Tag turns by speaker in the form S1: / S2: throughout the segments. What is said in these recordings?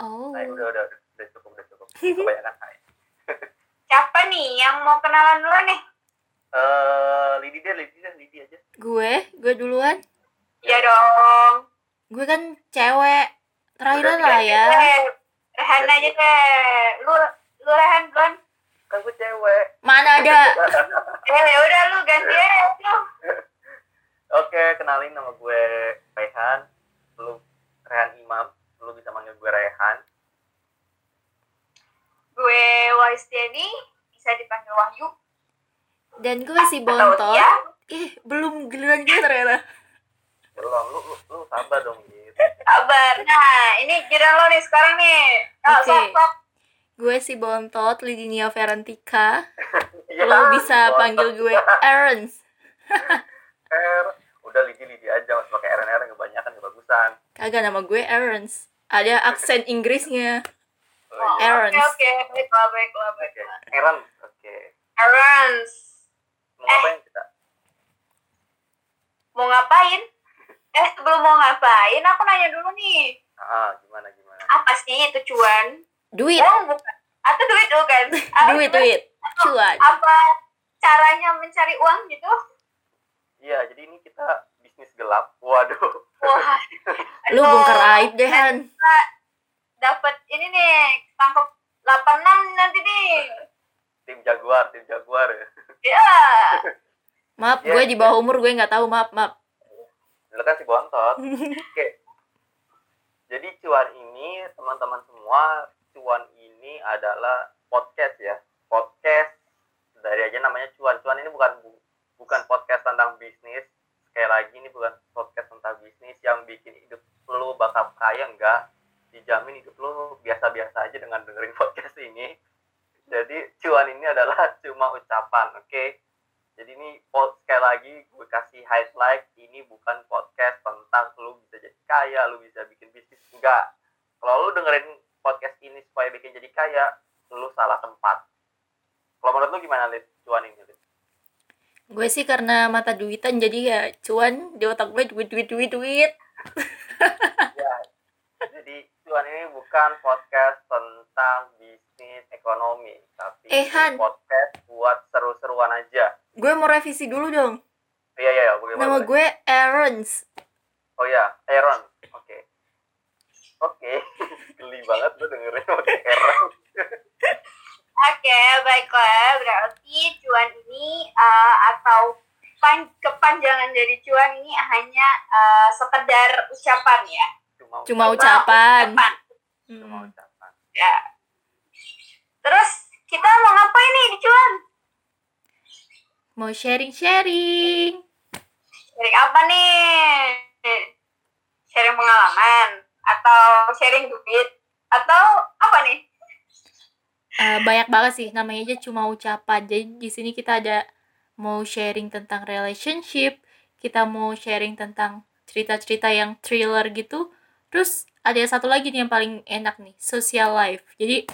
S1: Oh,
S2: Nah,
S3: nih yang mau kenalan dulu nih?
S2: Eh, Lidi deh, Lidi deh, Lidi aja.
S1: Gue, gue duluan.
S3: Ya dong.
S1: Gue kan cewek. Terakhiran
S2: Udah,
S1: lah ya.
S3: Eh, Rehan aja deh. Lu lu Rehan duluan.
S2: Kan gue cewek.
S1: Mana ada?
S3: Eh ya udah lu ganti aja lu.
S2: Oke, kenalin nama gue Rehan. Lu Rehan Imam. Lu bisa manggil gue Rehan.
S3: Gue Wahyustiani, bisa dipanggil Wahyu.
S1: Dan gue si
S3: Atau
S1: Bontot.
S3: Tia.
S1: Ih, belum giliran gue ternyata.
S2: Belum, Ya lu, lu, lu sabar dong, Lid.
S3: Sabar. Nah, ini giliran lo nih sekarang nih. Oh,
S1: Oke.
S3: sok, sok.
S1: Gue si Bontot, Lidinia Verantika.
S2: Iya,
S1: Lo
S2: gua-
S1: bisa panggil gue Erens.
S2: R. Udah Lidi, Lidi aja. Masih pakai RNR yang kebanyakan, kebagusan.
S1: Kagak nama gue Erens. Ada aksen Inggrisnya.
S2: Oh, iya.
S1: Errands.
S3: Oke, oke. Baiklah, baiklah,
S2: Oke,
S3: baiklah.
S2: Aaron. Oke.
S3: Errands.
S2: Mau ngapain kita?
S3: Mau ngapain? Eh, sebelum mau ngapain, aku nanya dulu nih.
S2: Ah, gimana, gimana?
S3: Apa sih itu cuan?
S1: Duit,
S3: Uang Oh, bukan? Atau duit bukan? Apa-
S1: Iya. duit, duit. Cuan.
S3: Apa caranya mencari uang gitu?
S2: Iya, jadi ini kita bisnis gelap. Waduh.
S3: Wah,
S1: Lu
S3: aduh.
S1: bongkar aib deh, Han.
S3: Dapat ini nih, tangkap 86 nanti nih.
S2: Tim Jaguar, tim Jaguar ya.
S3: Ya.
S1: Maaf,
S2: Iya.
S1: gue di bawah umur gue nggak tahu. Maaf, maaf.
S2: Dulu kan si bontot. Oke. Jadi cuan ini teman-teman semua, cuan ini adalah podcast ya. Podcast dari aja namanya cuan. Cuan ini bukan bu- bukan podcast tentang bisnis. Sekali lagi ini bukan podcast tentang bisnis yang bikin hidup lu bakal kaya enggak. Dijamin hidup lu biasa-biasa aja dengan dengerin podcast ini. Jadi cuan ini adalah cuma ucapan, oke? Jadi ini pod- sekali lagi gue kasih highlight ini bukan podcast tentang lu bisa jadi kaya, lu bisa bikin bisnis enggak. Kalau lu dengerin podcast ini supaya bikin jadi kaya, lu salah tempat. Kalau menurut lu gimana Lid? Cuan ini Lid?
S1: Gue sih karena mata duitan jadi ya cuan di otak gue duit duit duit duit.
S2: Ya. Jadi cuan ini bukan podcast tentang bisnis ekonomi, tapi
S1: Eh, Han.
S2: podcast buat seru-seruan aja.
S1: Gue mau revisi dulu dong.
S2: Iya iya iya, boleh,
S1: Nama
S2: boleh.
S1: gue Erens.
S2: Oh ya, Aaron. Oke. Oke. Geli banget lu dengerin pakai Aaron.
S3: Oke, baiklah. Berarti cuan ini eh, atau pan- kepanjangan dari cuan ini hanya eh, sekedar ucapan ya.
S2: Cuma
S1: Cuma
S2: ucapan.
S1: ucapan.
S3: Ucapan.
S2: Cuma
S1: Hmm.
S2: ucapan.
S3: Ya. Terus kita mau ngapain nih di cuan?
S1: Mau sharing sharing.
S3: Sharing apa nih? Sharing pengalaman atau sharing duit atau apa nih?
S1: Eh, banyak banget sih namanya aja cuma ucapan. Jadi di sini kita ada mau sharing tentang relationship. Kita mau sharing tentang cerita-cerita yang thriller gitu. Terus ada satu lagi nih yang paling enak nih, social life. Jadi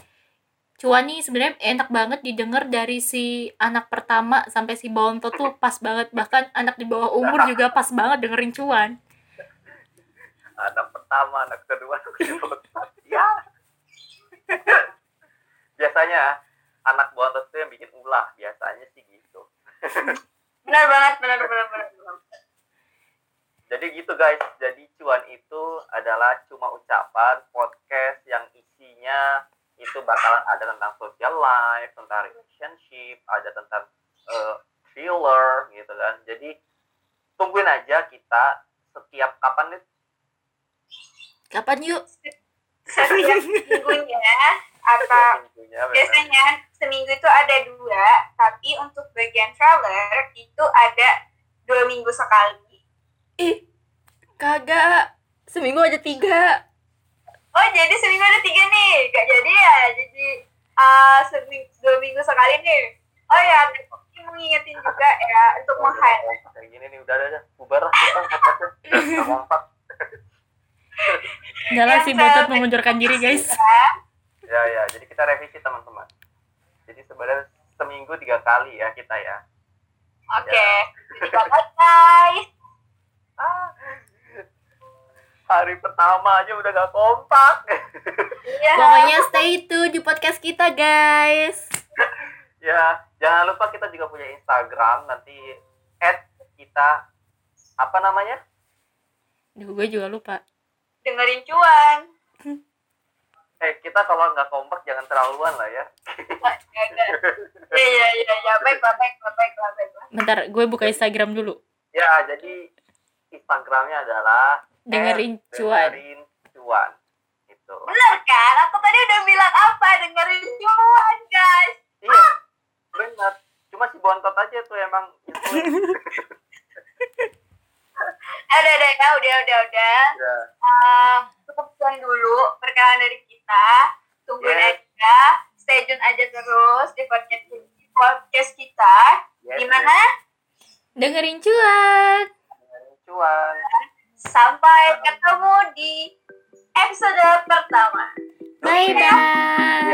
S1: cuan nih sebenarnya enak banget didengar dari si anak pertama sampai si bontot tuh pas banget. Bahkan anak di bawah umur juga pas banget dengerin cuan.
S2: Anak pertama, anak kedua, anak kedua. ya. biasanya anak bontot itu yang bikin ulah. Biasanya sih gitu.
S3: Benar banget, benar benar benar. benar.
S2: Jadi gitu guys, jadi cuan itu adalah cuma ucapan podcast yang isinya itu bakalan ada tentang social life, tentang relationship, ada tentang eh, thriller gitu kan. Jadi tungguin aja kita setiap kapan nih
S1: Kapan yuk?
S3: Setiap minggunya atau
S2: setiap minggunya bener.
S3: biasanya seminggu itu ada dua tapi untuk bagian traveler itu ada dua minggu sekali
S1: Ih, kagak. Seminggu aja tiga.
S3: oh jadi seminggu ada tiga nih gak jadi ya jadi uh, seminggu, dua minggu sekali nih oh ya tapi mau ngingetin juga ya untuk
S2: Udah,
S3: meng
S2: udah, udah, Kayak gini nih udah ada bubar lah kita podcastnya. Nggak ngompak.
S1: Jangan
S3: Yang
S1: si botot
S3: cewek.
S1: mengundurkan diri guys.
S2: Ya ya, jadi kita revisi teman-teman. Jadi sebenarnya seminggu tiga kali ya kita ya.
S3: oke jadi bye guys
S2: Ah, hari pertama aja udah gak kompak
S3: Iya.
S1: Pokoknya stay tune di podcast kita guys.
S2: ya Ya, jangan lupa kita juga punya Instagram nanti add kita apa namanya?
S1: Duh, gue juga lupa.
S3: dengerin cuan
S2: Eh, kita kalau nggak kompak jangan terlaluan lah ya.
S3: ya ya ya ya ya baik lah, baik lah, baik lah, baik lah.
S1: Bentar, gue buka Instagram dulu.
S2: Ya, jadi Instagramnya adalah
S1: Dengerin
S2: at
S1: cuan.
S2: Eh, Dengerin cuan. Gitu.
S3: bener kan aku tadi udah bilang apa dengerin cuan guys
S2: Iya, benar. Cuma si bontot aja tuh emang influencer.
S3: ada ada ya udah udah udah
S2: Ya.
S3: Eh, cukup sekian dulu perkenalan dari kita tungguin
S2: Yes.
S3: aja stay tune aja terus di podcast di podcast kita
S2: Yes,
S3: gimana
S1: Dengerin cuan.
S2: Dengerin cuan.
S3: sampai ketemu di episode pertama
S1: Bye bye.